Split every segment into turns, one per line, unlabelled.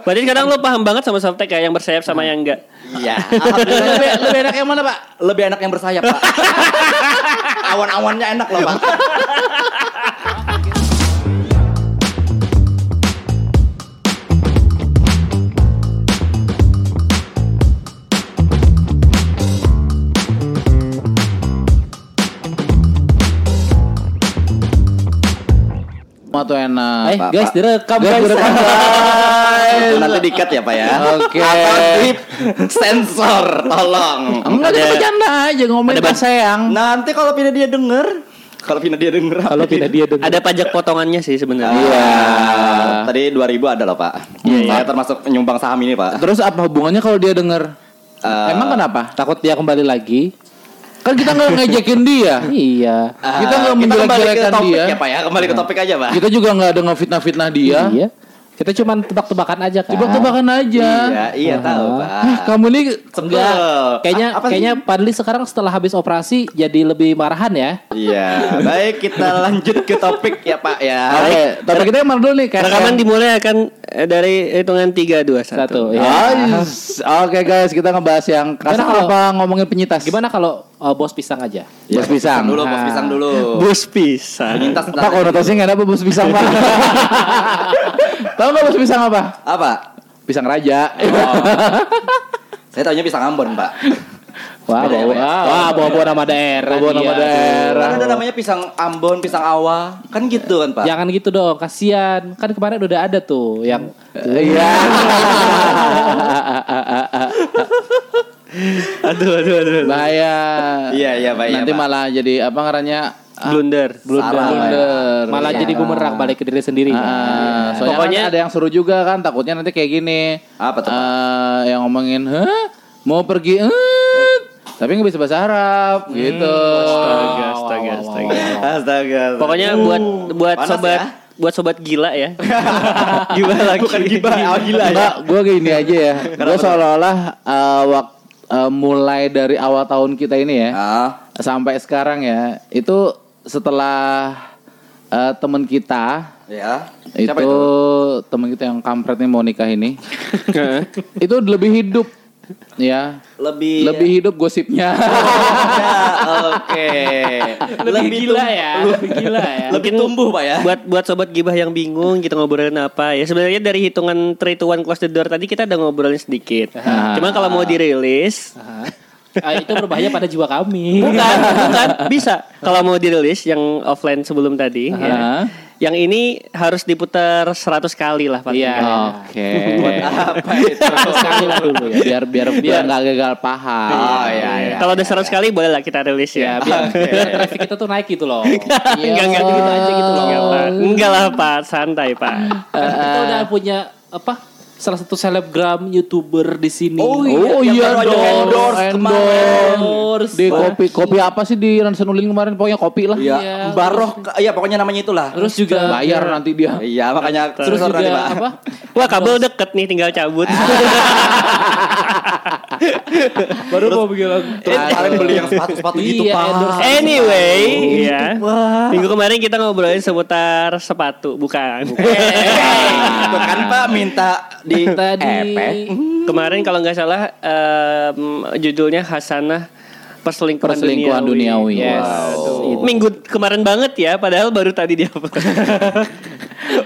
Berarti kadang lo paham banget sama softtek ya yang bersayap sama yang enggak.
Iya. Alhamdulillah lebih, lebih enak yang mana pak? Lebih enak yang bersayap pak. Awan-awannya enak loh pak.
Semua tuh enak.
Eh
Apa-apa.
guys direkam guys.
direkam, Nanti dikat ya pak ya.
Oke.
Atau di sensor, tolong.
Enggak dia
Ada- Nah,
bercanda aja ngomongin Pak Sayang.
Nanti kalau Pina dia denger, kalau Pina dia denger. apa
Kalau
dia-
pindah
Iya,
dia dulu.
Ada pajak potongannya sih sebenarnya.
Iya. Tadi 2000 ada loh pak. Saya termasuk penyumbang saham ini pak.
Terus apa hubungannya kalau dia denger?
Eh,
Emang kenapa?
Takut dia kembali lagi.
Kan kita nggak ngejekin dia.
Iya.
Eh,
kita nggak
kembali ke
menjelek-jelekan
topik
dia.
ya pak ya. Kembali ke topik aja pak.
Kita juga nggak ada ngefitnah-fitnah dia.
Iya. Kita cuman tebak-tebakan aja kan.
Tebak-tebakan aja.
Iya, iya tahu pak.
Ah, kamu ini
Sebel.
Enggak. Kayaknya
A- apa sih?
kayaknya Padli sekarang setelah habis operasi jadi lebih marahan ya.
Iya, baik kita lanjut ke topik ya pak ya.
Oke, tapi kita yang mana dulu nih kayak
Rekaman dimulai akan eh, dari hitungan 3 2 1.
iya.
Satu. Ya.
Guys, Oke guys, kita ngebahas yang kasar
kalau-
apa ngomongin penyitas?
Gimana kalau uh, bos pisang aja?
Ya,
Bos pisang.
Dulu bos pisang dulu.
Bus pisang.
Penyintas
Pak konotasinya nggak ada apa bos pisang pak? Tahu nggak bos pisang apa?
apa? Oh.
Pisang raja.
Saya taunya pisang Ambon pak.
Wah,
Beda ya,
bawa,
Pak, ya?
wah, bawa bawa nama daerah.
Bawa nama
dia.
daerah.
Kan ada namanya pisang Ambon, pisang Awa, kan gitu kan pak.
Jangan gitu dong, kasihan. Kan kemarin udah ada tuh yang
Iya.
Aduh aduh aduh. aduh.
Bahaya.
Iya, iya, bahaya,
Nanti
Pak.
malah jadi apa ngarannya? ah,
Blunder.
Sarah,
Blunder.
malah jadi bumerang balik ke diri sendiri.
Iya.
Iya.
Ah, soalnya
Pokoknya-
kan ada yang seru juga kan takutnya nanti kayak gini.
Apa tuh, Pak?
Eh, yang ngomongin, "Hah? Mau pergi?" Eh, tapi nggak bisa bahasa Arab gitu.
Astaga astaga astaga.
Astaga. Uh,
Pokoknya buat buat
panas
sobat
ya.
buat sobat gila ya. gila lagi.
Bukan gibah, awal gila ya.
Mbak, gue gini aja ya. Gue seolah-olah eh, wak- eh, mulai dari awal tahun kita ini ya
Ah,
sampai sekarang ya itu setelah eh, teman kita
ya.
itu,
Siapa itu?
teman kita yang kampretnya mau nikah ini itu lebih hidup ya
Lebih
lebih hidup gosipnya
Oke.
Lebih, gila ya, lebih gila ya.
Lebih tumbuh pak ya.
buat buat sobat gibah yang bingung kita ngobrolin apa ya sebenarnya dari hitungan three to one close the door tadi kita udah ngobrolin sedikit cuma kalau mau dirilis
Ah, itu berbahaya pada jiwa kami.
bukan bukan bisa kalau mau dirilis yang offline sebelum
Oh,
tadi
iya.
ya.
Aha.
yang ini harus diputar 100 kali lah paling
Iya.
nggak.
oke
Apa itu?
Sekali lah dulu ya.
biar biar biar nggak gagal paham
Oh ya ya.
Iya,
iya,
kalau udah 100 kali boleh lah kita rilis
Ya,
ya,
biar, biar traffic kita tuh naik gitu loh.
enggak enggak
gitu aja gitu loh.
Enggak, Pak. Enggak lah Pak, santai Pak.
Kan kita udah punya apa? Salah satu selebgram youtuber di sini.
Oh,
Oh
Yang baru
iya
aja
dong,
endorse
endorse,
kemarin.
di kopi kopi apa sih di Ransan Ulin kemarin pokoknya kopi lah.
Iya,
Iya.
Baroh, iya pokoknya namanya itulah.
Terus juga
Bayar nanti dia.
Iya, makanya
terus
sensor
juga
nanti, Pak.
apa?
Wah, kabel deket nih tinggal cabut.
Ah. Baru mau bilang
Terus kemarin beli yang sepatu-sepatu gitu,
Iya,
Pak.
endorse.
Anyway, ya. Minggu kemarin kita ngobrolin seputar sepatu, bukan.
Tuh kan Pak minta di
tadi
Epek.
kemarin kalau nggak salah em, judulnya Hasanah Perselingkuhan,
Perselingkuhan duniawi.
Yes.
Wow.
Itu. Minggu kemarin banget ya, padahal baru tadi dia.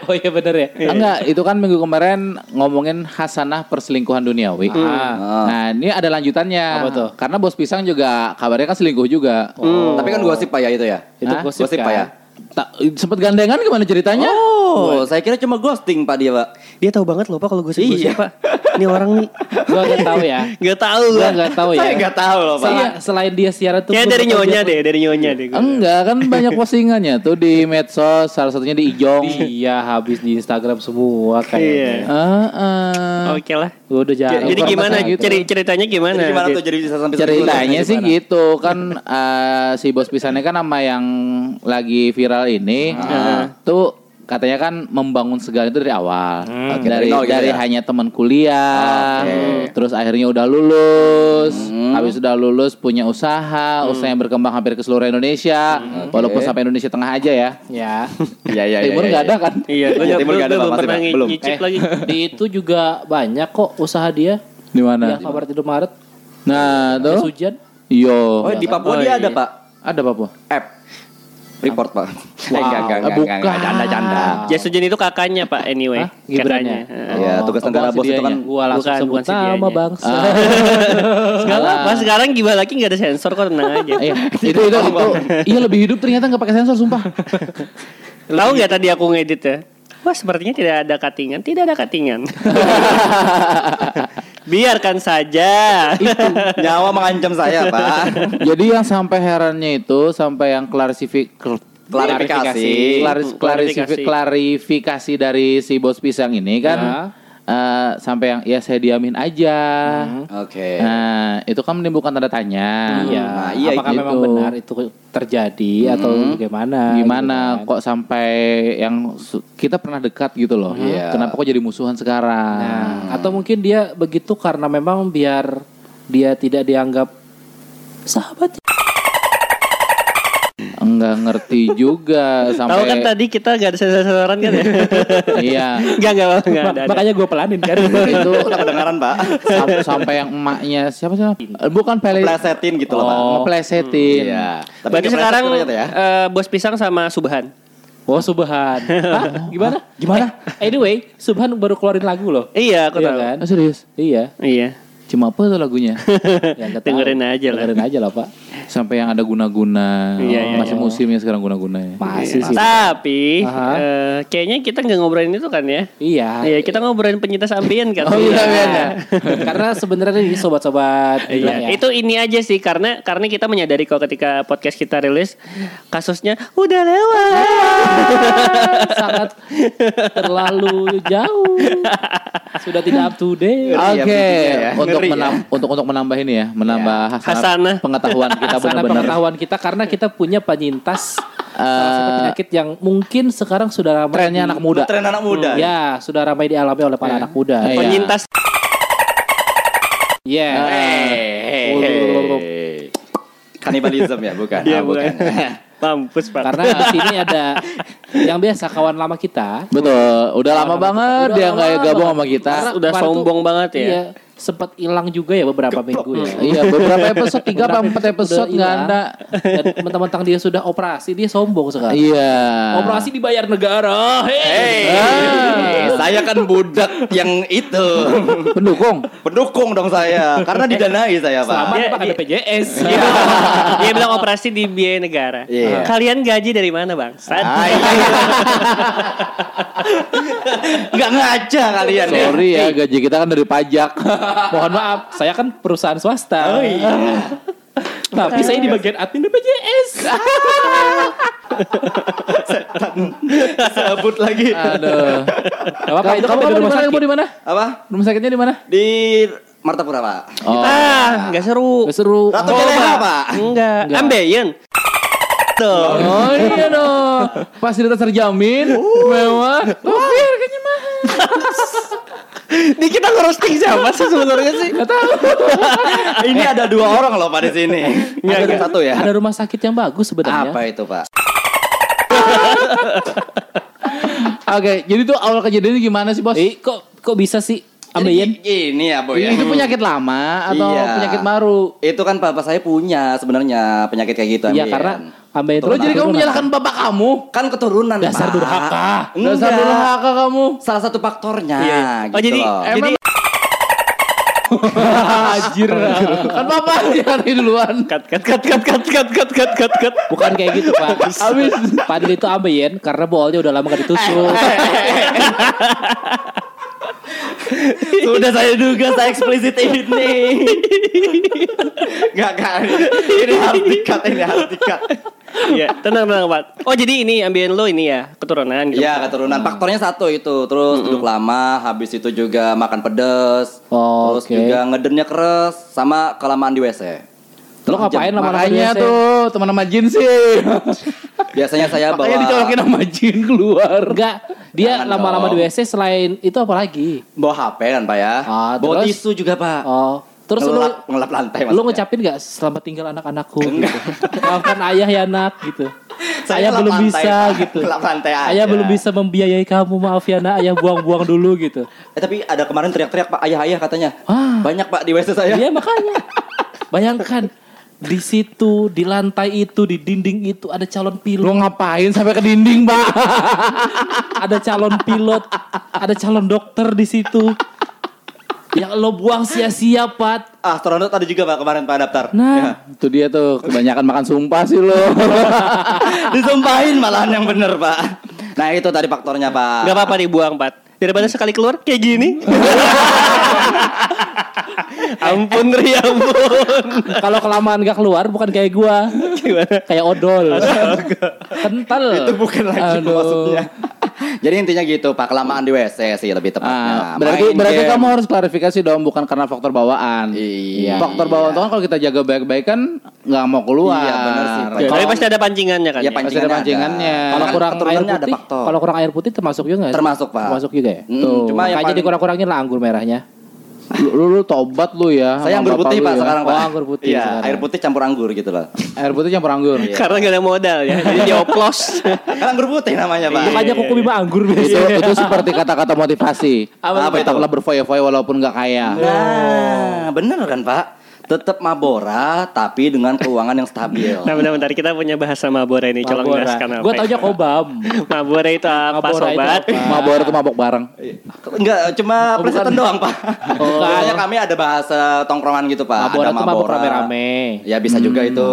Oh iya bener ya.
Enggak, itu kan minggu kemarin ngomongin hasanah perselingkuhan duniawi. Ah. Nah, ini ada lanjutannya.
Hmm. Apa tuh?
Karena bos pisang juga kabarnya kan selingkuh juga.
Tapi kan gosip Pak ya itu ya.
Itu
Hah?
gosip,
Gosip,
kan?
Pak ya.
Ta- sempet gandengan gimana ceritanya?
Oh, saya kira cuma ghosting Pak dia, Pak.
dia tahu banget loh Pak kalau gue sebut
Iya.
siapa. Ini orang nih
Gua gak tahu ya.
nggak tahu
Gua
gua.
gak tahu ya.
Saya nggak tahu loh, Pak.
Sel- Selain dia siaran tuh.
Kayaknya Ya,
gua
dari
gak tahu
nyonya
dia-
deh, dari nyonya deh. gua. Iya.
Enggak, kan banyak postingannya tuh di medsos, salah satunya di Ijong.
Iya habis di Instagram semua
Iya.
kayaknya.
Ah,
Oh,
ah.
Oke lah.
Gua udah jarang.
Jadi
Informasi
gimana
gitu.
ceri- ceritanya gimana? Iya,
Jadi gimana tuh jadi bisa sampai
Ceritanya sih gitu kan eh, si bos pisangnya kan sama yang lagi viral ini tuh katanya kan membangun segala itu dari awal.
Oke, dari
Dari
nol gitu
dari
ya?
hanya teman kuliah,
Oke.
terus akhirnya udah lulus, habis udah lulus punya usaha, usaha yang berkembang hampir ke seluruh Indonesia, walaupun
Oke.
sampai Indonesia tengah aja ya.
Ya.
Iya, iya,
Timur nggak ada kan?
Iya, gue
Iya,
nggak-
Timur
gue
nggak ada
belum
sama
pernah
Timur.
ngi-
Belum.
ngicip lagi.
Eh, Di itu juga banyak kok usaha dia.
Di mana?
Yang kabar tidur Maret,
Nah,
es
tuh.
hujan.
Yo.
Oh, di Papua
Oh, iya.
dia ada, Pak.
Ada apa?
App. Report, Pak. Eh, Wow. Enggak, enggak, enggak,
Bukan.
enggak, canda, canda.
Jasa Jen itu kakaknya Pak anyway.
Hah? Gibran
Kakaknya.
ya?
Heeh.
Iya, tugas
Oh,
negara
bukan
bos itu kan
sedianya.
Gua langsung
Bukan,
sebut
bukan sedianya.
nama bangsa.
Nggak apa-apa sekarang gimana lagi nggak ada sensor kok tenang aja.
Iya, itu itu itu. Iya lebih hidup ternyata nggak pakai sensor sumpah.
Tahu nggak tadi aku ngedit ya? Wah sepertinya tidak ada cuttingan, tidak ada cuttingan. Biarkan saja.
nyawa mengancam saya, Pak.
Jadi yang sampai herannya itu sampai yang klarisifi- kl-
Klarifikasi.
klaris- klarififi-
Klarifikasi.
klarifikasi dari si bos pisang ini kan
Ya.
eh, sampai yang ya saya diamin aja.
Oke.
Nah, itu kan menimbulkan tanda tanya.
Iya.
Nah, Hmm. iya
gitu.
Apakah
Hmm.
memang benar itu terjadi atau bagaimana?
Gimana
gitu kan.
kok sampai yang su- kita pernah dekat gitu loh.
Iya.
Kenapa kok jadi musuhan sekarang?
Nah,
Hmm.
atau mungkin dia begitu karena memang biar dia tidak dianggap sahabat.
Enggak ngerti juga
Tahu
sampai
kan tadi kita nggak ada sensor-sensoran kan ya?
Iya.
Nggak nggak nggak Iya. ada. ada.
Makanya gue pelanin kan.
itu
Udah kedengaran, Pak.
sam- sampai yang emaknya siapa sih? Eh, Bukan Pele.
Plesetin gitu loh, Pak.
Oh, ngeplesetin.
Iya. Tapi
Berarti
kepleset
sekarang
ternyata ya.
eh, bos pisang sama Subhan.
Oh Subhan. Hah? Gimana?
Gimana?
Eh, anyway, Subhan baru keluarin lagu loh.
Iya, aku
Iya
tahu.
kan?
Ah, serius?
Iya.
Iya.
Cuma apa tuh lagunya?
Ya, nggak tahu.
Dengerin aja lah.
Dengerin aja lah Pak.
Sampai yang ada guna-guna.
Iya, iya,
Masih musimnya sekarang guna-guna ya.
Masih sih.
Tapi
Aha.
eh, kayaknya kita nggak ngobrolin itu kan ya?
Iya.
Iya, kita ngobrolin penyintas ambien kan.
Oh, iya, iya, iya.
Karena sebenarnya ini sobat-sobat gila
Iya,
ya.
itu ini aja sih karena karena kita menyadari kalau ketika podcast kita rilis kasusnya udah lewat.
sangat terlalu jauh. Sudah tidak up to date.
Ngeri ya
Oke,
bunyinya ya.
untuk
Ngeri ya.
menam- untuk untuk menambah ini ya, menambah hasanah
Hasanah.
pengetahuan kita
Sana
benar-benar.
pengetahuan kita karena kita punya penyintas salah satu
Eh,
penyakit yang mungkin sekarang sudah ramai
trennya
di-
anak muda. Hmm.
Tren anak muda.
Ya, sudah ramai dialami oleh para anak muda. ya.
Iya.
Penyintas Eh,
Yeah.
Ah, Hey, hey. Kanibalism ya, bukan?
Iya,
Ah, bukan.
mampus Pak. Iya.
Karena di sini ada yang biasa kawan lama kita.
Betul, udah lama
Kawan lama
banget
kita.
dia
Udah
nggak
lama
gabung
banget.
sama kita.
Karena
Udah
kemarin
sombong
tuh,
banget ya.
Iya, sempat hilang juga ya beberapa minggu ya.
Iya, beberapa episode tiga apa
Beberapa
empat episode
udah
nggak
hilang.
ada.
Dan mentang-mentang dia sudah operasi, dia sombong sekarang.
Iya.
Operasi dibayar negara. Iya. Hey.
Hey, saya kan budak yang itu.
Pendukung.
Pendukung dong saya, karena didanai saya, Pak.
Selamat
Iya,
Pak ada
iya.
PJS.
dia, bilang, dia bilang operasi di biaya negara.
Iya.
Kalian gaji dari mana bang?
Ah, iya. Nggak ngaca kalian ya.
Sorry ya, gaji kita kan dari pajak.
Mohon maaf, saya kan perusahaan
Oh,
swasta.
iya.
Tapi saya di bagian admin BPJS.
Sebut lagi.
Aduh.
Gak apa-apa, itu kamu di rumah sakit.
Kamu di mana?
Apa?
Rumah sakitnya di mana?
Di Martapura, Pak.
Oh.
Ah, nggak seru.
Gak seru.
Ratu Celeha, Pak.
Enggak. Ambien. Tuh.
Oh iya dong. Fasilitas terjamin,
Uh.
mewah. Tapi harganya mahal.
Ini kita ngerosting siapa sih sebenarnya sih?
Ini ada dua orang loh, Pak, di sini.
Nggak,
Ada
nggak.
satu ya.
Ada ya. rumah sakit yang bagus sebenarnya.
Apa itu, Pak?
Oke, jadi tuh awal kejadiannya gimana sih bos?
Eh, kok kok bisa sih Ambien?
Ini ya, Bu ya.
Itu penyakit lama atau
Iya.
penyakit baru?
Itu kan bapak saya punya sebenarnya penyakit kayak gitu.
Iya
Amin.
karena Ambien itu
Lo jadi kamu
keturunan.
menyalahkan bapak kamu?
kan keturunan
Dasar
Pak.
durhaka.
Enggak.
Dasar durhaka kamu.
Salah satu faktornya.
Oh
gitu
jadi
loh.
jadi
Anjir.
Kan bapak nyari duluan.
cut cut cut cut cut cut cut cut cut cut.
Bukan kayak gitu, Pak. Habis Padahal itu Ambien karena bolnya udah lama gak ditusuk.
Eh,
sudah saya duga saya eksplisit ini. Enggak kan. Ini harus dikat ini harus dikat.
Iya, tenang tenang Pak. Oh jadi ini ambien lo ini ya keturunan gitu.
Iya keturunan faktornya satu itu terus duduk lama habis itu juga makan pedes
Oh,
terus
oke.
juga ngedernya keras sama kelamaan di WC
Lo ngapain
Makanya
lama-lamanya
tuh teman sama Jin sih.
Biasanya saya bawa.
Makanya dicolokin sama Jin keluar.
Enggak,
Jangan
dia lama-lama di
dong.
WC selain itu apa lagi?
Bawa HP kan pak ya.
Ah,
bawa
terus?
tisu juga pak.
Oh, terus lu
ngelap, ngelap lantai
lu
maksudnya.
ngucapin nggak selamat tinggal anak-anakku gitu. Maafkan ayah ya nak gitu.
Saya
Saya
ngelap
belum
lantai,
bisa
Pak.
gitu.
Ngelap lantai aja.
Ayah belum bisa membiayai kamu, maaf ya nak, ayah buang-buang dulu gitu.
Eh, tapi ada kemarin teriak-teriak pak ayah-ayah katanya.
Wah.
Banyak pak di WC saya.
Ah. Iya makanya. Bayangkan di situ, di lantai itu, di dinding itu ada calon
Lu
pilot,
ngapain sampai ke dinding, Pak?
ada calon pilot, ada calon dokter di situ. Yang lo buang sia-sia, Pat.
Astronot ada juga pak kemarin pak daftar. Ya.
Nah,
Itu dia tuh kebanyakan makan sumpah sih lo.
Disumpahin malahan yang bener pak. Nah itu tadi faktornya pak.
Gak apa-apa dibuang Pat Daripada sekali keluar kayak gini Ampun Ri ampun
kalau kelamaan gak keluar bukan kayak gua.
Gimana?
Kayak odol. Kental.
itu bukan lagi
Aduh.
maksudnya. Jadi intinya gitu pak kelamaan di WC sih lebih tepatnya.
Ah, berarti
Nah, Main
berarti
game.
kamu harus klarifikasi dong bukan karena faktor bawaan.
Iya.
Faktor bawaan tuh kan kalau kita jaga baik-baik kan nggak mau keluar.
Iya, benar sih.
Kalau-
Tapi pasti ada pancingannya kan
Ya,
ya?
Pasti ada pancingannya.
Kalau
Kan
kurang air
keturunannya ada
putih,
faktor.
kalau kurang air putih termasuk juga nggak?
Termasuk, Pak.
Termasuk juga ya.
Mm,
Tuh,
cuma yang
makanya
paling-
dikurang-kurangin lah anggur merahnya.
Lu, lu, lu tobat lu ya.
Saya
sama
anggur
bapak
putih
lu
pak
ya.
sekarang pak.
Oh, anggur putih
Iya,
sekarang.
air putih Iya. campur anggur gitu loh.
Air putih campur anggur.
Karena gak ada modal ya Jadi dioplos
Kan anggur putih namanya pak.
Makanya kuku bima anggur Iya.
itu,
biasanya.
itu seperti kata-kata motivasi.
Apa itu?
Tetaplah berfoya-foya walaupun nggak kaya.
Oh.
Nah, bener kan Pak? Tetap Mabora tapi dengan keuangan yang stabil.
Nah bentar-bentar kita punya bahasa Mabora ini Colong jelaskan apa
Gue
ya.
taunya kobam.
Mabora itu apa
Mabora itu
sobat? Iya.
apa?
Mabor tuh mabok bareng.
Enggak, cuma
Oh,
plesetan
bukan.
doang Pak.
Oh.
Soalnya kami ada bahasa tongkrongan gitu Pak.
Mabora
ada
tuh mabok rame-rame.
Ya bisa juga itu.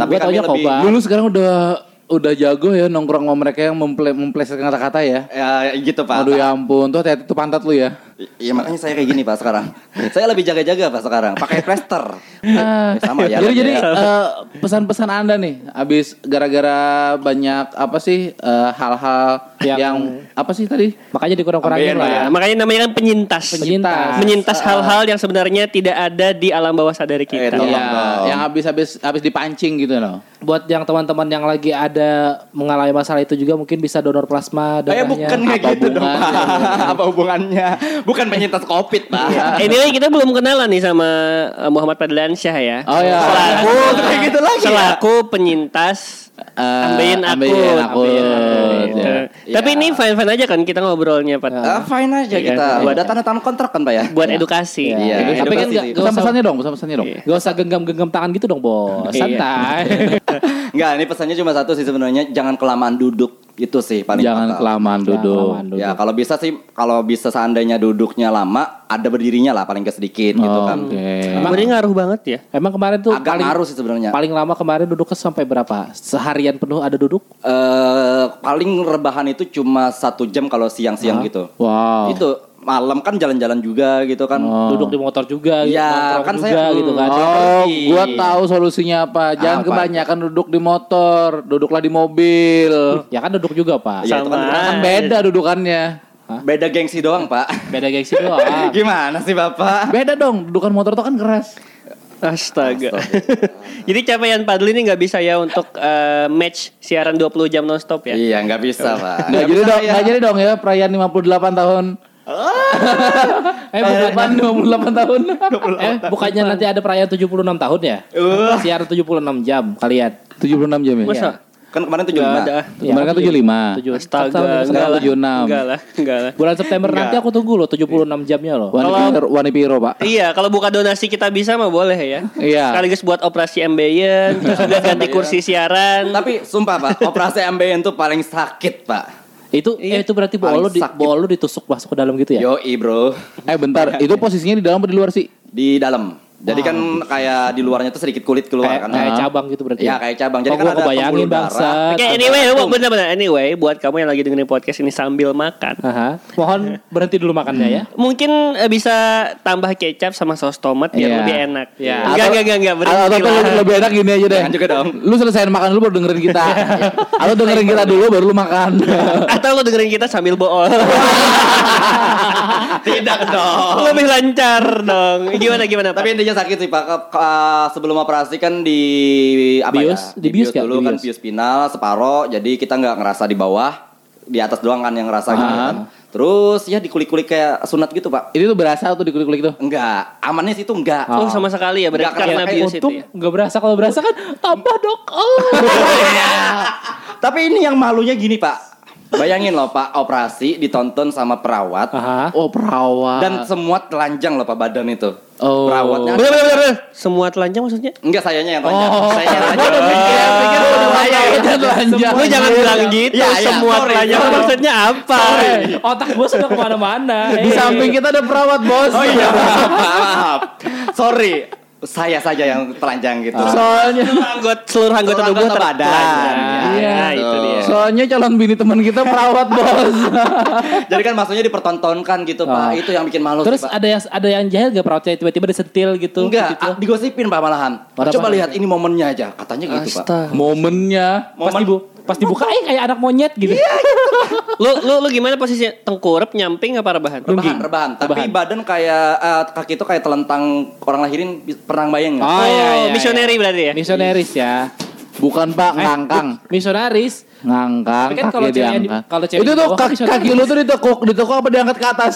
Tapi
Gua
kami
taunya
lebih
Koba. Ah.
Dulu sekarang udah udah jago ya nongkrong sama mereka yang memple memplesetkan kata-kata ya.
Ya, gitu Pak.
Aduh ya ampun, tuh hati-hati tuh pantat lu ya.
Iya makanya saya kayak gini Pak sekarang. saya lebih jaga-jaga Pak sekarang. Pakai plester.
Ah.
Ya, sama ya.
jadi
lah,
jadi
ya.
eh, pesan-pesan Anda nih habis gara-gara banyak apa sih eh, hal-hal yang,
Yang-
apa sih tadi?
Makanya dikurang-kurangin
Ambeien
lah. ya.
Nah, makanya namanya kan penyintas.
Penyintas.
Menyintas hal-hal yang sebenarnya tidak ada di alam bawah sadar kita.
Tolong
Iya,
dong.
yang habis-habis habis dipancing gitu loh.
Buat yang teman-teman yang lagi ada mengalami masalah itu juga mungkin bisa donor plasma
Eh
darahnya.
bukan kayak
Apa
gitu dong Pak.
hubungannya?
apa hubungannya? Bukan penyintas Covid Pak.
Iya.
Anyway, kita belum kenalan nih sama eh, Muhammad Padlan Syah ya.
Oh ya.
Selaku
Oh, kayak gitu lagi ya? Ah,
Selaku penyintas
Eh,
ambein aku. gitu.
ambeien akut, ya.
Tapi
Ya.
ini fine-fine aja kan kita ngobrolnya Pak.
Ah, fine aja
Iya,
kita.
iya.
Ada tanda tangan kontrak kan Pak ya?
Buat edukasi.
Iya.
Tapi kan nggak- nggak usah
Pesan-pesannya dong, pesan-pesannya dong.
Gak usah genggam-genggam tangan gitu dong, bos.
Iya.
Santai.
Enggak, ini pesannya cuma satu sih sebenarnya jangan kelamaan duduk. Itu sih paling
Jangan
fatal.
kelamaan duduk.
kelamaan
Ya, kalau bisa sih kalau bisa seandainya duduknya lama, ada berdirinya lah paling ke sedikit gitu kan.
Oke.
Ini ngaruh banget
Iya,
ya.
Emang kemarin tuh
Agak
paling
ngaruh sih sebenarnya.
paling lama kemarin duduknya sampai berapa? Seharian penuh ada duduk?
Eh, paling rebahan itu cuma satu jam kalau siang-siang gitu.
Wow.
Itu malam kan jalan-jalan juga gitu kan.
Duduk di motor juga gitu,
Iya,
nongkrong
kan
juga
saya
gitu kan.
Oh, gua tahu solusinya apa. Jangan
Apa?
kebanyakan duduk di motor, duduklah di mobil.
Ya kan duduk juga, Pak.
Iya. Ya, itu kan
sama
Kan beda dudukannya.
Beda gengsi doang, Pak.
Beda gengsi doang.
Gimana sih, Bapak?
Beda dong, dudukan motor tuh kan keras.
Astaga. Jadi capaian Padli ini nggak bisa ya untuk eh, match siaran 20 jam nonstop ya.
Iya, nggak bisa,
gitu
Pak.
Nggak
Nggak
jadi
bisa iya. Ah.
dong,
saya.
nggak jadi dong ya perayaan 58 tahun. eh, bukan 58 tahun.
eh, bukannya nanti ada perayaan 76 tahun ya?
Uh.
Siaran 76 jam kalian.
76 jam ya.
Masa?
Kan kemarin tujuh
Nggak ada.
Ya,
Kemarin kan 75.
7
Astaga,
enggak
enggak lah.
76.
Enggak lah, enggak lah.
Eh,
Bulan September nanti aku tunggu loh 76 jamnya loh.
Wani
Kalau-
Piro, Wani Piro, Pak.
Iya, kalau buka donasi kita bisa mah boleh ya.
Iya.
Sekaligus buat operasi ambeien, terus juga ganti kursi
Iya.
siaran.
Tapi sumpah, Pak, operasi MBN tuh paling sakit, Pak.
Itu eh, itu berarti
iya. Paling
bol lu di,
sakit.
bol lu ditusuk masuk ke dalam gitu ya?
Yoi, Bro.
Eh, bentar. Itu posisinya di dalam atau di luar sih?
Di dalam. Jadi kan kayak di luarnya tuh sedikit kulit keluar
Kayak,
kan.
kayak cabang gitu berarti.
Iya, kayak cabang. Jadi
oh,
kan
gua
ada
kebayangin
pembuluh darah.
bangsa.
Oke, anyway, bener-bener anyway, buat kamu yang lagi dengerin podcast ini sambil makan,
Aha. Mohon berhenti dulu makannya ya.
mungkin eh, bisa tambah kecap sama saus tomat biar
Iya.
lebih enak.
Iya.
Enggak,
Atau-
enggak, enggak, enggak, berhenti
Atau, atau
lah.
lebih, lebih enak gini aja deh.
Jangan kan juga dong.
Lu selesaiin makan dulu baru dengerin kita. atau dengerin kita dulu baru lu makan.
Atau lo dengerin kita sambil bool.
Tidak dong.
lebih lancar dong. Gimana gimana? Pak?
Tapi intinya istrinya sakit sih Pak. Ke- ke- eh, sebelum operasi kan di apa
Bius?
ya?
Di bius nggak?
dulu
Di
kan
bius.
bius final separo jadi kita nggak ngerasa di bawah. Di atas doang kan yang ngerasa
Ah.
gitu kan. Terus ya dikulik-kulik kayak sunat gitu, Pak.
Itu tuh berasa tuh dikulik-kulik tuh.
Enggak, amannya sih itu enggak.
Ah.
Oh sama sekali ya berarti
Nggak
karena
kayak-
Iya
bius itu
Untung
ya.
nggak berasa kalau berasa kan tambah dok. Oh.
Tapi ini yang malunya gini, Pak. Bayangin loh, Pak, operasi ditonton sama perawat.
Aha.
Oh perawat.
Ah.
Dan semua telanjang loh pak badan itu.
Oh.
Perawatnya.
Bener bener bener. Semua telanjang maksudnya?
Enggak sayanya yang telanjang.
Oh.
Saya yang telanjang.
Iya,
Eh, iya,
ya. telanjang.
Lu jangan bilang
iya.
gitu.
Ya, ya,
semua
sorry,
telanjang
sorry.
maksudnya apa? Iya.
Eh, otak gue sudah kemana-mana.
Di
Eh.
samping kita ada perawat bos.
Oh iya, maaf, maaf. Sorry. Saya saja yang telanjang gitu.
Ah.
Soalnya
Anggot seluruh anggota tubuh
Seluruh anggota badan.
tertelanjang.
Iya,
Nah, itu
gitu.
dia.
soalnya calon bini teman kita perawat bos.
Jadi kan maksudnya dipertontonkan gitu
Ah.
pak. Itu yang bikin malu. sih,
Terus
Pak.
ada yang ada yang jahil gak perawatnya tiba-tiba disentil gitu?
enggak
gitu.
ah, digosipin pak malahan.
Pada
Coba
apa?
lihat ini momennya aja. Katanya gitu pak.
Momennya.
Pas, dibu
Momen
pas dibuka eh kayak anak monyet gitu.
Iya.
Lu lu lu gimana posisinya? Tengkurap, nyamping apa rebahan?
Nungging.
rebahan, rebahan. Tapi
Rebahan.
badan kayak eh, kaki itu kayak telentang orang lahirin. Bi- Pernah bayang nggak?
Ah. Oh, iya, iya,
misioneri berarti ya.
Misioneris ya. Bukan pak ngangkang.
Misionaris.
Ngangkang
Tapi kan kalau
kakinya
cewek yang di-
diangkat.
kalau cewek
Itu
di
tuh
bawah
kaki,
bisa
kaki lu tuh ditekuk, ditekuk apa diangkat ke atas?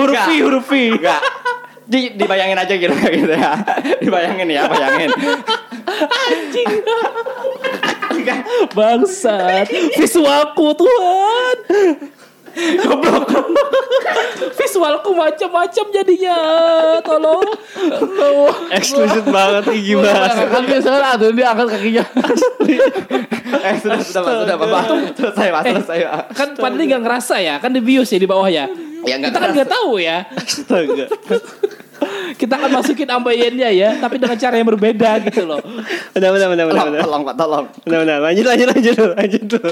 huruf V, huruf V. Enggak. Di- dibayangin aja gitu gitu ya. Dibayangin ya, bayangin.
Bangsat. Visualku Tuhan. Goblok. Visualku macam-macam jadinya. Tolong.
Eksplisit banget nih gimana?
Kan biasanya ada yang diangkat kakinya.
eh sudah sudah Pak, sudah Pak. Selesai Pak, selesai Pak.
Kan padahal nggak ngerasa ya, kan dibius ya di bawah ya.
Ya, nggak
Kita kan
ngerasa.
nggak tahu ya.
Astaga.
Kita akan masukin ambeyennya ya, tapi dengan cara yang berbeda gitu loh.
Udah udah udah udah
Tolong,
udah.
tolong Pak, tolong.
Udah udah lanjut lanjut lanjut dulu, lanjut dulu.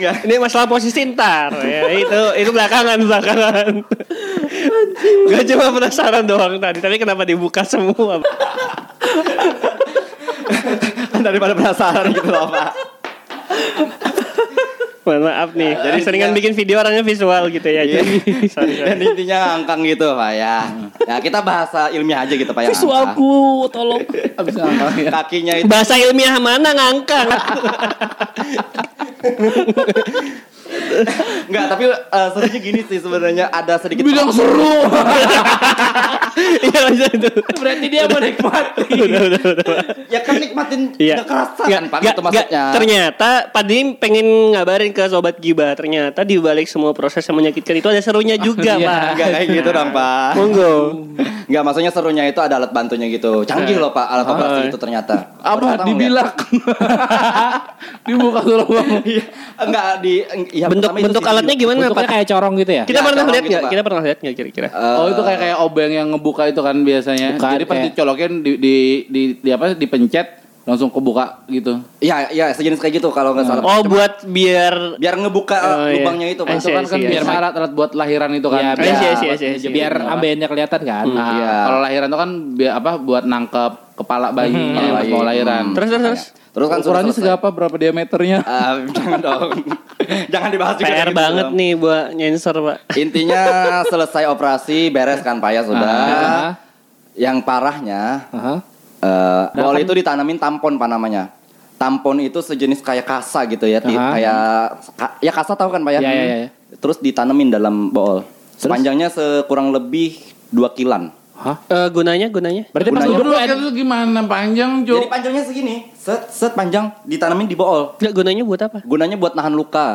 Enggak.
Ini masalah posisi ntar ya, itu itu belakangan belakangan. Gak cuma penasaran doang tadi, tapi kenapa dibuka semua?
Kan daripada penasaran gitu loh Pak.
Mohon maaf nih. Jadi seringan bikin video orangnya visual gitu ya. Jadi sorry, sorry.
Dan intinya ngangkang gitu Pak ya. Ya kita bahasa ilmiah aja gitu Pak ya. ngangkang.
Visualku, tolong.
Abis ngangkang ya.
Kakinya itu
Bahasa ilmiah mana ngangkang?
enggak, tapi eh, serunya gini sih sebenarnya ada sedikit
Bilang seru.
Iya lanjut itu.
Berarti dia menikmati.
Udah udah udah.
ya kan nikmatin
Iya. Nggak,
kekerasan Pak
nggak,
itu
nggak.
maksudnya.
Ternyata Pak Dim pengen ngabarin ke sobat Giba. Ternyata di balik semua proses yang menyakitkan itu ada serunya juga,
Iya.
Pak.
Enggak kayak gitu dong Pak.
Monggo.
Enggak, maksudnya serunya itu ada alat bantunya gitu. Canggih loh Pak alat
Ah.
operasi itu ternyata. Baru
Apa
tahu nggak?
dibilak. Dibuka tuh lubang.
Enggak di ya,
Bentuk
pertama itu
bentuk
sih.
alatnya gimana,
Bentuknya
Pak?
kayak corong gitu ya?
Kita
Ya,
pernah
corong
lihat
gitu,
nggak?
Pak.
Kita pernah lihat nggak kira-kira?
Eh,
oh itu kayak kayak obeng yang ngebuka itu kan biasanya.
Bukan,
Jadi pas
kayak-
dicolokin di, di, di, di apa dipencet langsung kebuka gitu.
ya ya sejenis kayak gitu kalau nggak salah.
Oh, buat biar
Biar ngebuka eh,
Oh, iya.
lubangnya itu Pak.
I
Itu
see,
kan
I
kan
see, I
biar
see.
alat alat buat lahiran itu
Iya,
kan.
biar-
Iya, iya, iya, iya.
Biar ambeyennya kelihatan kan?
Nah,
Iya.
kalau lahiran tuh kan biar apa buat nangkep kepala bayinya
Iya,
yang pas mau lahiran.
Terus terus terus.
Iya, Hmm. Terus kan sudah
iya, ukurannya
selesai.
segapa berapa diameternya?
Ah, jangan dong. jangan dibahas juga.
PR
kayak gitu
banget
dong.
nih buat nyensor, Pak.
Intinya selesai operasi beres kan Pak ya sudah.
Ah.
Yang parahnya
Aha.
eh
Nah,
bol
kan
itu ditanamin tampon Pak namanya. Tampon itu sejenis kayak kasa gitu ya, ti-
Aha.
kayak ka- ya kasa tahu kan Pak ya?
Iya, iya, iya.
Terus ditanemin dalam bol. Sepanjangnya sekurang lebih 2 kilan.
Hah?
Eh, gunanya gunanya?
Berarti pas lu
Gunanya-
berdua
itu gimana panjang,
Jadi panjangnya segini, set set panjang ditanamin di bool.
Nggak gunanya buat apa?
Gunanya buat nahan luka.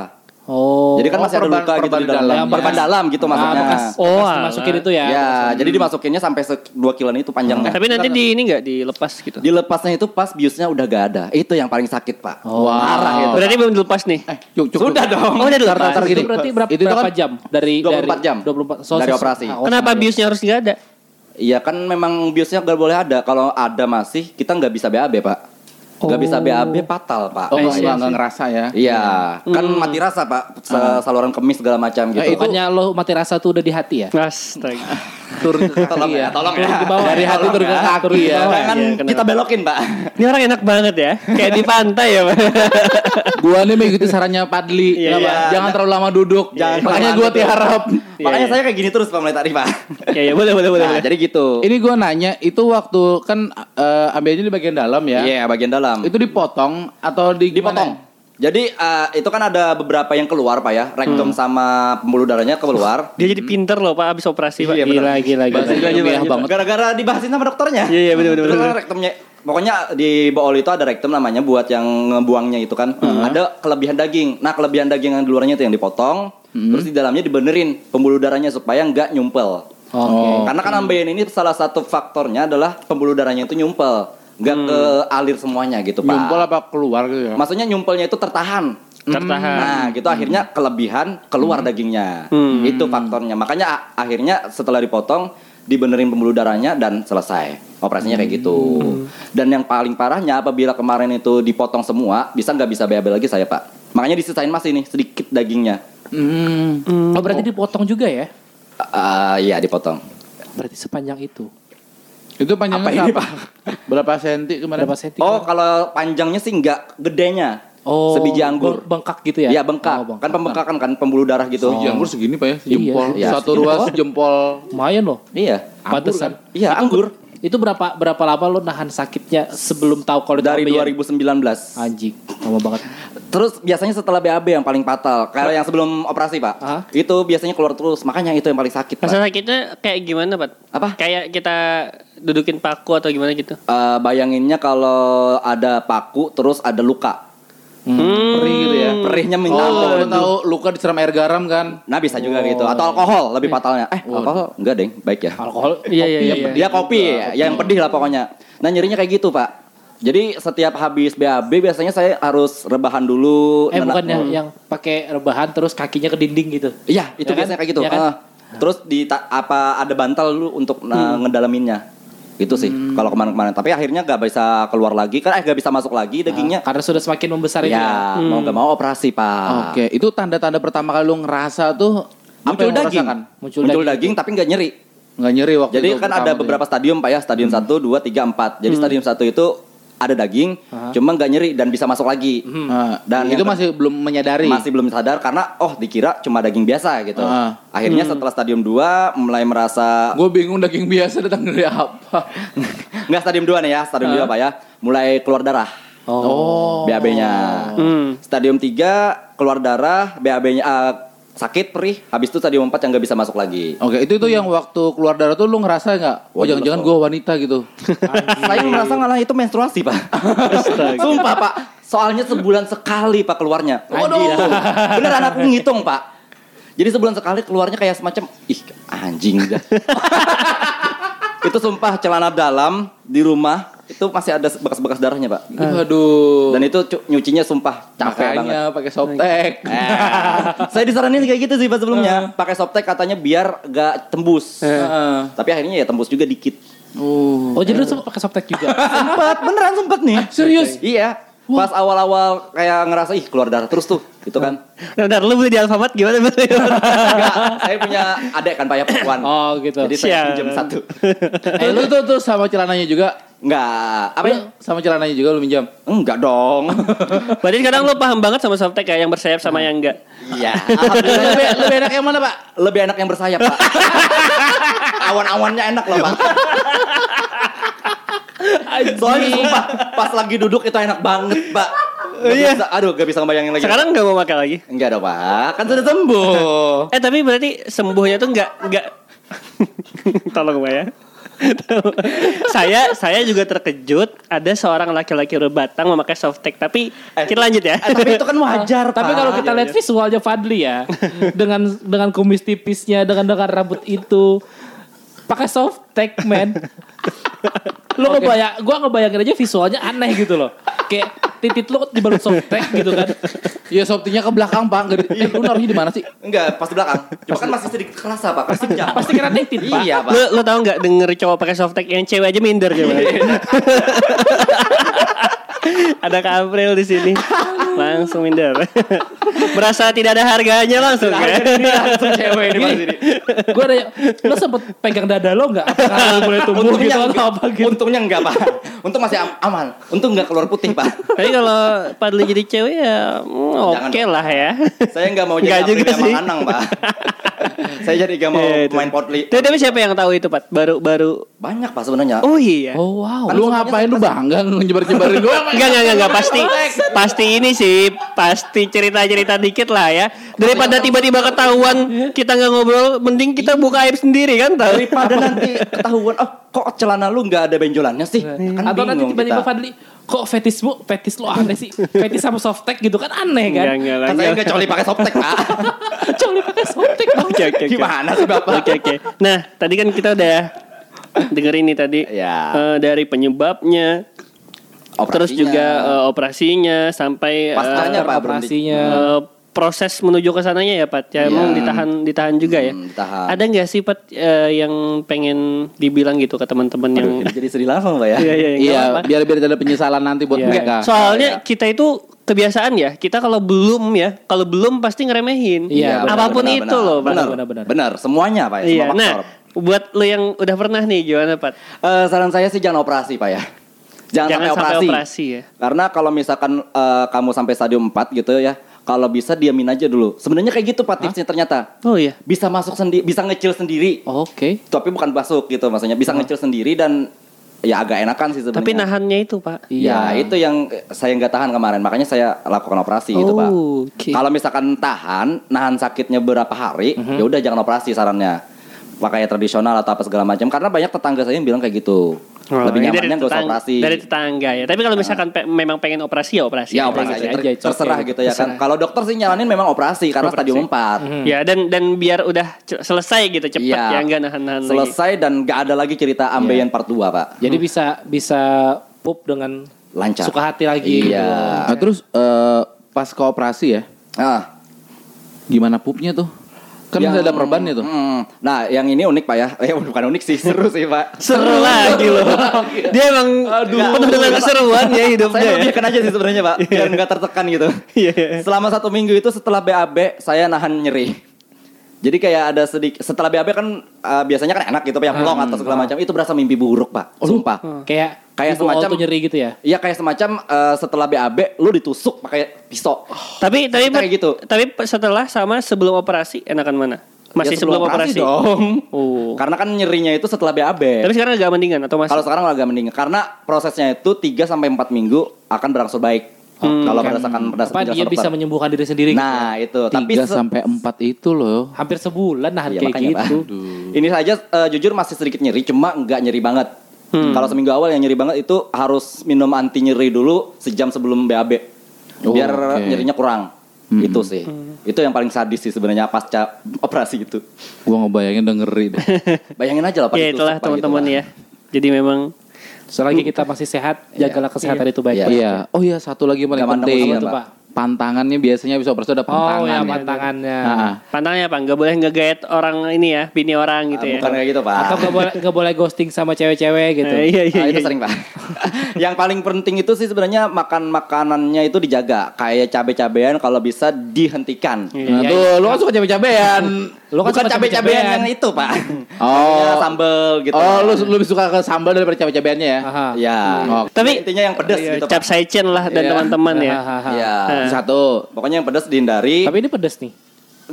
Oh.
jadi kan
oh,
masih ada
perban-
luka gitu
perban
di dalam.
dalam,
Yang
ya.
perban dalam gitu maksudnya.
Ah, bekas,
Oh,
bekas Hmm.
alah.
dimasukin itu ya.
ya, jadi dimasukinnya sampai 2 kilan itu panjangnya.
Tapi nanti di ini nggak dilepas gitu.
dilepasnya itu pas biusnya udah gak ada. Itu yang paling sakit, Pak.
Oh, Wow.
Parah itu.
Berarti belum dilepas nih.
Eh, Cuk, cuk,
Sudah dong.
Oh, udah
Tar, tar,
dilepas.
tar, gini.
Itu berarti berapa,
Itu
berapa
kan
jam dari
24
dari,
jam.
24
Dari operasi.
Ah,
Kenapa
operasi.
biusnya harus nggak ada?
Iya kan memang biusnya gak boleh ada. Kalau ada masih kita nggak bisa BAB, Pak. Nggak bisa BAB fatal, Pak.
Oh,
Iya.
enggak, enggak ngerasa ya.
Iya, kan mati rasa,
Nah,
Pak. Sa- Saluran kemis segala macam gitu.
Bukannya lo mati rasa tuh udah di hati ya?
Astaga.
turun ke
Tolong
kaki
ya,
ya.
tolong ya.
Ke bawah
Dari
ya,
hati
tolong
turun ke
ya.
kaki ya.
Turun ke
Jangan
Iya, kenapa?
kita belokin, Pak.
Ini orang enak banget ya. Kayak di pantai ya, Pak.
Gua nih mengikuti sarannya Padli,
Iya,
Kenapa?
iya.
jangan terlalu lama duduk.
Jangan
Makanya
kelamaan
gua
duduk.
tiarap.
Makanya
iya.
saya kayak gini terus Pak mulai tadi, Pak.
Ya ya boleh boleh boleh.
Nah,
boleh.
jadi gitu.
Ini gua nanya, itu waktu kan eh, ambilnya di bagian dalam ya?
Iya, bagian dalam.
Itu dipotong atau di
dipotong. Jadi eh, itu kan ada beberapa yang keluar Pak ya, rektum sama pembuluh darahnya keluar.
Dia jadi pinter loh Pak abis operasi Pak.
Iya, bener.
Gila gila gila.
Bahasa
Gila,
ilmiah
gila, gila.
banget.
Gara-gara dibahasin sama dokternya.
Iya, iya, bener, bener,
Terus
bener.
kan rektumnya Pokoknya di bool itu ada rektum namanya buat yang ngebuangnya itu kan. Ada kelebihan daging. Nah, kelebihan daging yang di luarnya itu yang dipotong,
Mm-hmm.
terus di dalamnya dibenerin pembuluh darahnya supaya nggak nyumpel.
Oke.
Karena kan ambeien ini salah satu faktornya adalah pembuluh darahnya itu nyumpel, nggak
Hmm.
ke alir semuanya gitu, Pak.
Nyumpel apa keluar gitu ya?
Maksudnya nyumpelnya itu tertahan.
Tertahan.
Nah, gitu akhirnya kelebihan keluar dagingnya. Itu faktornya. Makanya a- akhirnya setelah dipotong dibenerin pembuluh darahnya dan selesai. Operasinya kayak gitu. Dan yang paling parahnya apabila kemarin itu dipotong semua, bisa nggak bisa BAB lagi saya, Pak. Makanya disisain masih nih sedikit dagingnya.
Hmm.
Oh berarti dipotong juga ya?
Ah, iya dipotong.
Berarti sepanjang itu.
Itu panjangnya
Apa ini,
berapa?
Pak?
Berapa senti kemarin?
Berapa senti?
Oh, kalau panjangnya sih nggak gedenya. sebiji anggur.
beng- Oh, Bengkak gitu ya?
Iya, Oh, bengkak.
Oh,
Kan pembengkakan kan pembuluh darah gitu.
Biji anggur segini pak ya, jempol.
Iya.
Satu
Segini
ruas
doang.
jempol.
Lumayan loh.
Iya.
Pantesan.
Iya, anggur.
Itu berapa berapa lama lo nahan sakitnya sebelum tahu kalau itu
Dari
apa ya? Ah, iya.
2019.
Anjing, lama banget.
Terus biasanya setelah BAB yang paling fatal, kalau yang sebelum operasi pak,
Hah?
itu biasanya keluar terus, makanya itu yang paling sakit. Pak.
Rasa sakitnya kayak gimana Pak?
Apa?
Kayak kita dudukin paku atau gimana gitu?
Eh, bayanginnya kalau ada paku terus ada luka, Iya.
Perih
Hmm.
gitu ya.
perihnya Hmm. minta
Oh,
ampun.
lu tahu luka diseram air garam kan?
Nah bisa juga
Oh.
gitu, atau alkohol lebih
Iya.
fatalnya. Eh alkohol enggak deng, baik ya.
Alkohol
Iya iya iya.
Dia kopi, ya, yang pedih lah pokoknya. Nah nyerinya kayak gitu pak. Jadi setiap habis BAB biasanya saya harus rebahan dulu.
Eh
nena-
bukan yang, yang pakai rebahan terus kakinya ke dinding gitu.
Iya, itu
Ya kan?
biasanya kayak gitu.
Ya kan?
Ah. terus di ta- apa ada bantal lu untuk nah, ngedalaminnya. Itu sih kalau kemarin-kemarin. Tapi akhirnya gak bisa keluar lagi kan eh gak bisa masuk lagi
Nah,
dagingnya.
karena sudah semakin membesar itu ya.
ya, mau gak mau operasi, Pak.
Oke, itu tanda-tanda pertama kali lu ngerasa tuh apa
Muncul
yang lu
daging.
rasakan?
Muncul
Muncul,
daging.
daging tapi gak nyeri.
Nggak nyeri waktu
Jadi
itu
kan
pertama
ada
tuh ya?
beberapa stadium, Pak ya. Stadium 1, 2, 3, 4. Jadi stadium 1 itu ada daging, cuma gak nyeri dan bisa masuk lagi.
Ah,
Hmm. Dan yang-
itu masih belum menyadari.
Masih belum sadar karena oh dikira cuma daging biasa gitu.
Ah.
Akhirnya setelah stadium 2 mulai merasa
Gue bingung daging biasa datang dari apa.
Enggak stadium 2 nih ya, stadium 2 Pak ya. Mulai keluar darah
Oh.
BAB-nya.
Hmm.
Stadium 3 keluar darah, BAB-nya ah, sakit perih, habis itu stadium 4 yang nggak bisa masuk lagi.
Oke, itu tuh yang waktu keluar darah tuh lu ngerasa nggak?
Wah,
Oh, jangan-jangan
jelas,
gue wanita gitu.
Saya merasa ngalah itu menstruasi, Pak. Sumpah, Pak. Soalnya sebulan sekali Pak keluarnya. Waduh. Beneran aku ngitung, Pak. Jadi sebulan sekali keluarnya kayak semacam ih anjing dah. itu sumpah celana dalam di rumah itu masih ada bekas-bekas darahnya, Pak.
Ah. Waduh.
Dan itu cu- nyucinya sumpah capek banget.
Makanya pakai softtek.
Eh, saya disaranin kayak gitu sih pak sebelumnya pakai softtek katanya biar gak tembus
Heeh.
tapi akhirnya ya tembus juga dikit Uh.
Oh, jadi lu sempat pakai softtek juga.
sempet beneran sempet nih
serius?
iya pas awal-awal kayak ngerasa ih keluar darah terus tuh gitu kan
Nah, bentar, lu beli di Alfamart gimana beli?
Enggak, saya punya adik kan pak ya perempuan
oh, gitu.
jadi saya
Sialan.
pinjam satu
eh lu tuh tuh sama celananya juga.
enggak apa ya
Lu sama celananya juga lu minjam.
enggak dong
Berarti kadang lu paham banget sama softtek ya yang bersayap sama yang enggak.
iya alhamdulillah
lebih, lebih enak yang mana, Pak?
lebih enak yang bersayap pak awan-awannya enak loh pak soalnya sumpah pas lagi duduk itu enak banget pak Gak
Iya.
bisa- aduh gak bisa ngebayangin lagi
Sekarang enggak mau pakai lagi.
enggak dong pak kan sudah sembuh
Eh tapi berarti sembuhnya tuh enggak enggak Tolong Mbak ya. saya saya juga terkejut ada seorang laki-laki berbatang memakai softtek tapi
Eh,
kita lanjut ya.
eh, tapi itu kan wajar
Tapi
Pak. Iya,
kalau kita lihat visualnya Fadli ya, dengan dengan kumis tipisnya, dengan dengan rambut itu, pakai softtek man. Lu ngebayang, gua ngebayangin aja visualnya aneh gitu loh. Kayak titit lu dibalut softtek gitu kan.
Ya softinya ke belakang, Pak. Nggak di- Eh, lu naruhnya di mana sih?
enggak pas di belakang cuma kan masih sedikit kerasa pak pasti
Pasti kena titit, Pak.
iya pak
Lu lu tahu enggak denger cowok pakai softtek yang cewek aja
Iya,
minder coba. ada Kak April di sini. Langsung minder. Merasa tidak ada harganya langsung ya.
langsung cewek ini pasti
Gini, gue ada, lo sempet pegang dada lo nggak? Apakah lo boleh tumbuh gitu atau
enggak,
apa gitu?
untungnya enggak pak untung masih am- aman untung enggak keluar putih pak
Tapi kalau Padli jadi cewek ya hmm,
Jangan.
oke lah ya.
saya enggak mau
Enggak
jadi
juga
Afrika
sih.
Manganang pak saya jadi enggak mau
Iya, itu.
main potli
Tapi, tapi siapa yang tahu itu Pat? Baru baru.
banyak pak sebenarnya
Oh iya.
Oh wow.
Kan
Lu
semuanya
ngapain lu bangga nyebar-nyebarin gue?
Enggak enggak enggak enggak pasti pasti ini sih pasti cerita-cerita dikit lah ya. Daripada tiba-tiba ketahuan kita nggak ngobrol mending kita buka aib sendiri kan tahu.
daripada nanti ketahuan oh kok celana lu enggak ada benjolannya sih
Iya.
kan
atau nanti
bingung
tiba-tiba
kita.
Fadli, kok fetismu, fetis lo aneh sih? Fetis sama softtek gitu kan aneh kan?
Enggak enggak lah.
kan saya
enggak.
enggak coli pakai softtek pak
Kecuali pakai softtek dong.
Oke oke oke.
gimana sih bapak
Oke oke. Nah, tadi kan kita udah dengerin nih tadi
Iya.
Ya.
eh, dari penyebabnya, terus
Operasinya.
juga eh, operasinya sampai eh,
Pastinya, Pak, belum di-
Operasinya.
eh, proses menuju ke sananya ya, Pat. Ya, emang ditahan ditahan juga ya.
Iya. Hmm, ditahan.
Ada nggak sih Pat eh, yang pengen dibilang gitu ke teman-teman yang
Aduh, jadi sedih langsung pak ya
Iya iya nggak
Iya,
apa-apa.
biar biar ada penyesalan nanti buat
Iya.
mereka.
Soalnya kita itu kebiasaan ya. Kita kalau belum ya, kalau belum pasti ngeremehin.
Iya, benar,
apapun
Ya, benar,
itu
benar.
loh, Pat.
benar benar
Benar,
benar
benar.
semuanya pak ya
Iya.
semua
Nah,
faktor
buat lo yang udah pernah nih gimana, Pat?
Eh, saran saya sih jangan operasi pak ya jangan,
Jangan
sampai,
sampai
operasi.
operasi ya.
karena kalau misalkan eh, kamu sampai stadium 4 gitu ya kalau bisa diamin aja dulu sebenarnya kayak gitu pak tipsnya ternyata
Oh iya.
bisa masuk sendiri bisa ngecil sendiri
Oke.
tapi bukan masuk gitu maksudnya bisa ngecil sendiri dan ya agak enakan sih sebenarnya
Tapi nah, iya. nahannya itu pak.
Ya itu yang saya nggak tahan kemarin makanya saya lakukan operasi gitu pak.
Oh, oke.
Kalau misalkan tahan, nahan sakitnya berapa hari,
Mhm.
ya udah jangan operasi sarannya. Pakainya tradisional atau apa segala macam karena banyak tetangga saya yang bilang kayak gitu. Lebih
Oh, Ini
nyamannya nggak usah
tetang-
operasi.
Iya, Dari tetangga ya. Tapi kalau misalkan pe- memang pengen operasi ya operasi.
Ya operasi
Gitu
aja,
ya.
ter-
Iya, aja, it's okay.
terserah gitu ya kan. Kalau dokter sih nyaranin memang operasi karena
Operasi.
stadium
Mhm.
4.
Ya dan dan biar udah ce- selesai gitu cepat
Mm-hmm. Iya.
ya nggak nahan-nahan lagi.
Selesai dan nggak ada lagi cerita ambeien
Iya.
part 2 pak.
Jadi bisa bisa pup dengan
Lancar.
suka hati lagi. gitu.
Iya.
Nah, terus eh, pas kooperasi ya,
Ah.
gimana pupnya tuh? Kan
Yang-
masih ada perbannya tuh.
Mm. nah, yang ini unik pak ya. Eh bukan unik sih, seru sih pak.
Seru lagi loh. Dia emang penuh dengan keseruan ya hidupnya.
Saya
ya.
lebihkan aja sih sebenarnya pak,
Iya.
biar nggak tertekan gitu.
Iya, iya.
Selama satu minggu itu setelah BAB saya nahan nyeri. Jadi kayak ada sedikit setelah BAB kan eh, biasanya kan enak gitu pak, yang
Hmm.
long atau segala macam itu berasa mimpi buruk pak,
Oh, hmm.
sumpah.
Kayak
Kayak
ibu all
semacam-
tuh nyeri gitu ya.
Iya kayak semacam eh, setelah BAB lu ditusuk pakai pisau.
Oh,
Tapi tapi
Kayak gitu.
Tapi setelah sama sebelum operasi enakan mana? Masih
Ya,
sebelum, operasi.
dong.
Oh.
Karena kan nyerinya itu setelah BAB.
Tapi sekarang agak mendingan atau masih?
Kalau sekarang agak mending karena prosesnya itu 3 sampai 4 minggu akan berangsur baik. Kalau berdasarkan
Hmm, kan. Apa
berdasarkan
dia
penjelasan
bisa
dokter.
menyembuhkan diri sendiri? gitu ya?
Nah, itu. Tapi
Tiga
se-
sampai empat itu loh.
hampir sebulan nah
Iya,
kayak
makanya, Pak.
gitu.
Ini saja eh, jujur masih sedikit nyeri, cuma nggak nyeri banget.
Hmm.
Kalau seminggu awal yang nyeri banget itu harus minum anti nyeri dulu sejam sebelum BAB.
Oh,
Biar
oke.
nyerinya kurang.
Hmm.
Itu sih. Itu yang paling sadis sih sebenarnya pasca operasi itu.
Gua ngebayangin udah ngeri deh.
Bayangin aja lah Pak,
Ya
ditusuk,
itulah
Pak,
teman-teman
gitu,
ya. Jadi memang
Selagi kita masih sehat, jagalah kesehatan itu baik.
Iya.
Pak.
Iya. Oh iya, satu lagi yang paling
Gampang
penting.
nembus apa tuh, Pak?
Pantangannya biasanya bisa operasi ada
Oh
pantangan.
ya
ya.
pantangannya.
Nah,
pantangnya apa? Nggak boleh ngegait orang ini ya, bini orang
Pak.
gitu
Ah,
ya.
Bukan kayak gitu Pak.
Atau gak boleh gak boleh ghosting sama cewek-cewek gitu.
Eh, iya iya
Ah, itu
iya.
sering pak. yang paling penting itu sih sebenarnya makan makanannya itu dijaga. Kayak cabai-cabean kalau bisa dihentikan.
nah
Iya,
tuh lu kan suka cabe-cabean.
Lu kan
Bukan
suka
cabai-cabean yang
cabe-cabean.
itu pak.
Oh.
Ya,
Maksudnya sambel gitu.
oh, lu lu lebih suka ke sambal daripada cabe-cabeannya ya?
Aha.
Ya.
Oh.
Tapi
intinya yang pedas
Iya,
gitu
Cap
pak.
saicen lah dan
Iya.
teman-teman ya.
Hahaha.
Ya.
Satu.
Pokoknya yang pedas dihindari.
Tapi ini pedes nih.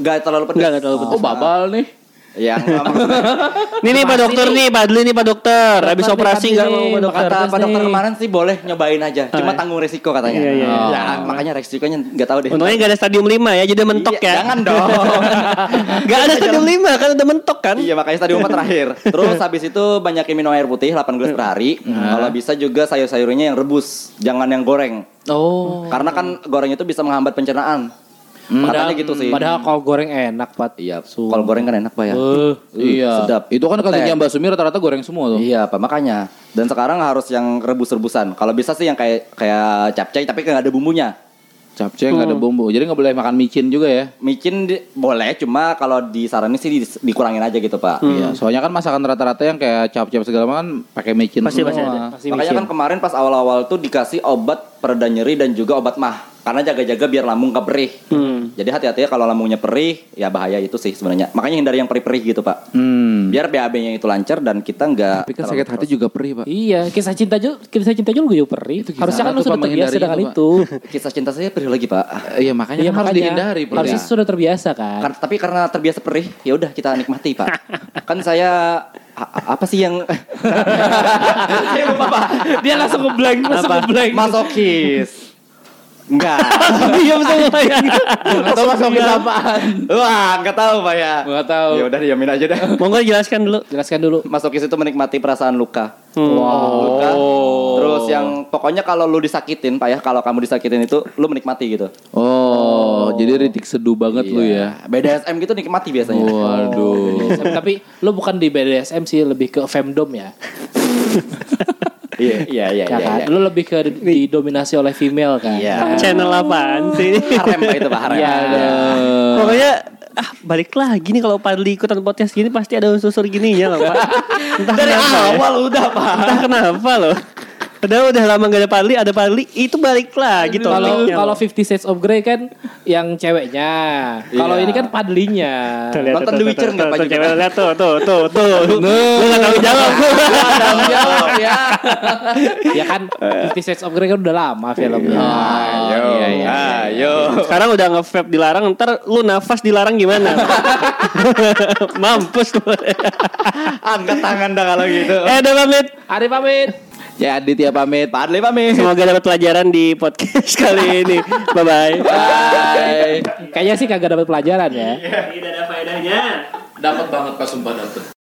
Gak terlalu pedas.
Nggak, nggak terlalu Ya, pedas.
Oh, babal nih.
Yang maksudnya,
Nih nih Pak Dokter nih, Pak Adli nih Pak Dokter. Habis
Dokter,
operasi
Pak
nggak
Adli.
mau Pak Dokter.
kata
pedas
pak dokter
nih.
kemarin sih boleh nyobain aja. Cuma tanggung resiko katanya.
Iya, iya,
Ya, makanya resikonya nggak tahu deh.
Untungnya nggak ada stadium 5 ya, jadi udah mentok
Iya,
ya.
Jangan dong.
Nggak ada stadium 5 kan udah mentok kan?
Iya makanya stadium 4 terakhir. Terus habis itu banyakin minum air putih 8 gelas per hari. Kalau bisa juga sayur-sayurnya yang rebus, jangan yang goreng.
Oh.
Karena kan goreng itu bisa menghambat pencernaan.
Hmm.
Katanya gitu sih.
Padahal kalau goreng enak, Pat.
iya, kalau goreng kan enak, Pak ya.
Eh,
Iya.
sedap.
Itu kan
Teh.
kasusnya Mbak Sumi rata-rata goreng semua tuh.
Iya, Pak, makanya. Dan sekarang harus yang rebus-rebusan. Kalau bisa sih yang kayak kayak capcay tapi nggak ada bumbunya.
Capcay nggak ada bumbu. Jadi nggak boleh makan micin juga ya.
Micin di- boleh, cuma kalau disaranin sih di- dikurangin aja gitu, Pak.
Hmm.
Iya, soalnya kan masakan rata-rata yang kayak cap-cap segala macam kan pakai micin
Pasti-
semua.
pasti ada.
masih
Makanya kan kemarin pas awal-awal tuh dikasih obat pereda nyeri dan juga obat mah. Karena jaga-jaga biar lambung nggak perih.
Hmm.
Jadi hati-hatinya kalau lambungnya perih, ya bahaya itu sih sebenarnya. Makanya hindari yang perih-perih gitu pak.
Hmm.
Biar BAB-nya itu lancar dan kita nggak.
Tapi kan
terlalu
sakit hati juga perih, Pak.
Iya, kisah cinta juga kisah cinta juga gue perih.
Itu gimana
Harusnya kan lu
tuh,
sudah
Pak,
terbiasa
menghindari
dengan
itu, Pak?
itu.
Kisah cinta saya perih lagi pak.
Eh, Iya, makanya
Iya
kan harus
makanya.
dihindari perih.
Harusnya sudah terbiasa kan.
Kar- tapi karena terbiasa perih, ya udah kita nikmati pak. kan saya a- apa sih yang saya lupa pak.
Dia langsung ngeblank, langsung ngeblank.
Masokis. Enggak.
Iya,
Diam semua ya.
Atau masuk ke apaan?
Wah, nggak tahu pak ya.
Nggak tahu.
Ya udah diamin aja deh.
Monggo jelaskan dulu. Hmm,
Jelaskan dulu.
Masokis itu menikmati perasaan luka.
Oh.
Wow.
Luka. Terus yang pokoknya kalau lu disakitin pak ya, kalau kamu disakitin itu lu menikmati gitu.
Oh, jadi ritik seduh banget lu ya.
BDSM gitu nikmati biasanya.
Waduh.
BDSM. Oh, iya, Tapi lu bukan di BDSM sih, lebih ke femdom ya.
Iya, iya, iya,
Ya
iya.
kan? Lu lebih ke di- didominasi oleh female kan.
Iya.
Channel apaan sih?
Harem pak itu pak harem.
Iya,
Pokoknya ah, balik lagi nih kalau Padli ikutan podcast gini pasti ada unsur-unsur gininya loh Pak. Entah
Dari
Iya,
kenapa ya.
awal udah pak.
Entah kenapa loh. Padahal udah lama gak ada Padli, ada Padli itu balik lagi
Kalau
topiknya. loh.
kalau Fifty Shades of Grey kan yang ceweknya. Kalau
Iya.
ini kan padlinya.
Tuh, lihat,
Nonton
tuh,
The
tuh,
Witcher
tuh,
nggak,
tuh,
Pak,
tuh,
juga?
cewek, Lihat tuh, tuh, tuh, tuh. Lu gak tau jawab.
Iya,
Tanggung jawab ya.
ya kan Fifty Shades of Grey kan udah lama filmnya.
Ayo, ayo.
Sekarang udah nge-vape dilarang, ntar lu nafas dilarang gimana? Mampus lu.
Angkat tangan dah kalau gitu.
Eh, udah pamit.
Ari pamit.
Ya Aditya pamit.
Padle pamit.
Semoga dapat pelajaran di podcast kali ini. Bye-bye.
Bye.
Kayaknya sih kagak dapat pelajaran ya.
Tidak ada faedahnya.
Dapat banget pas sumpah dapat.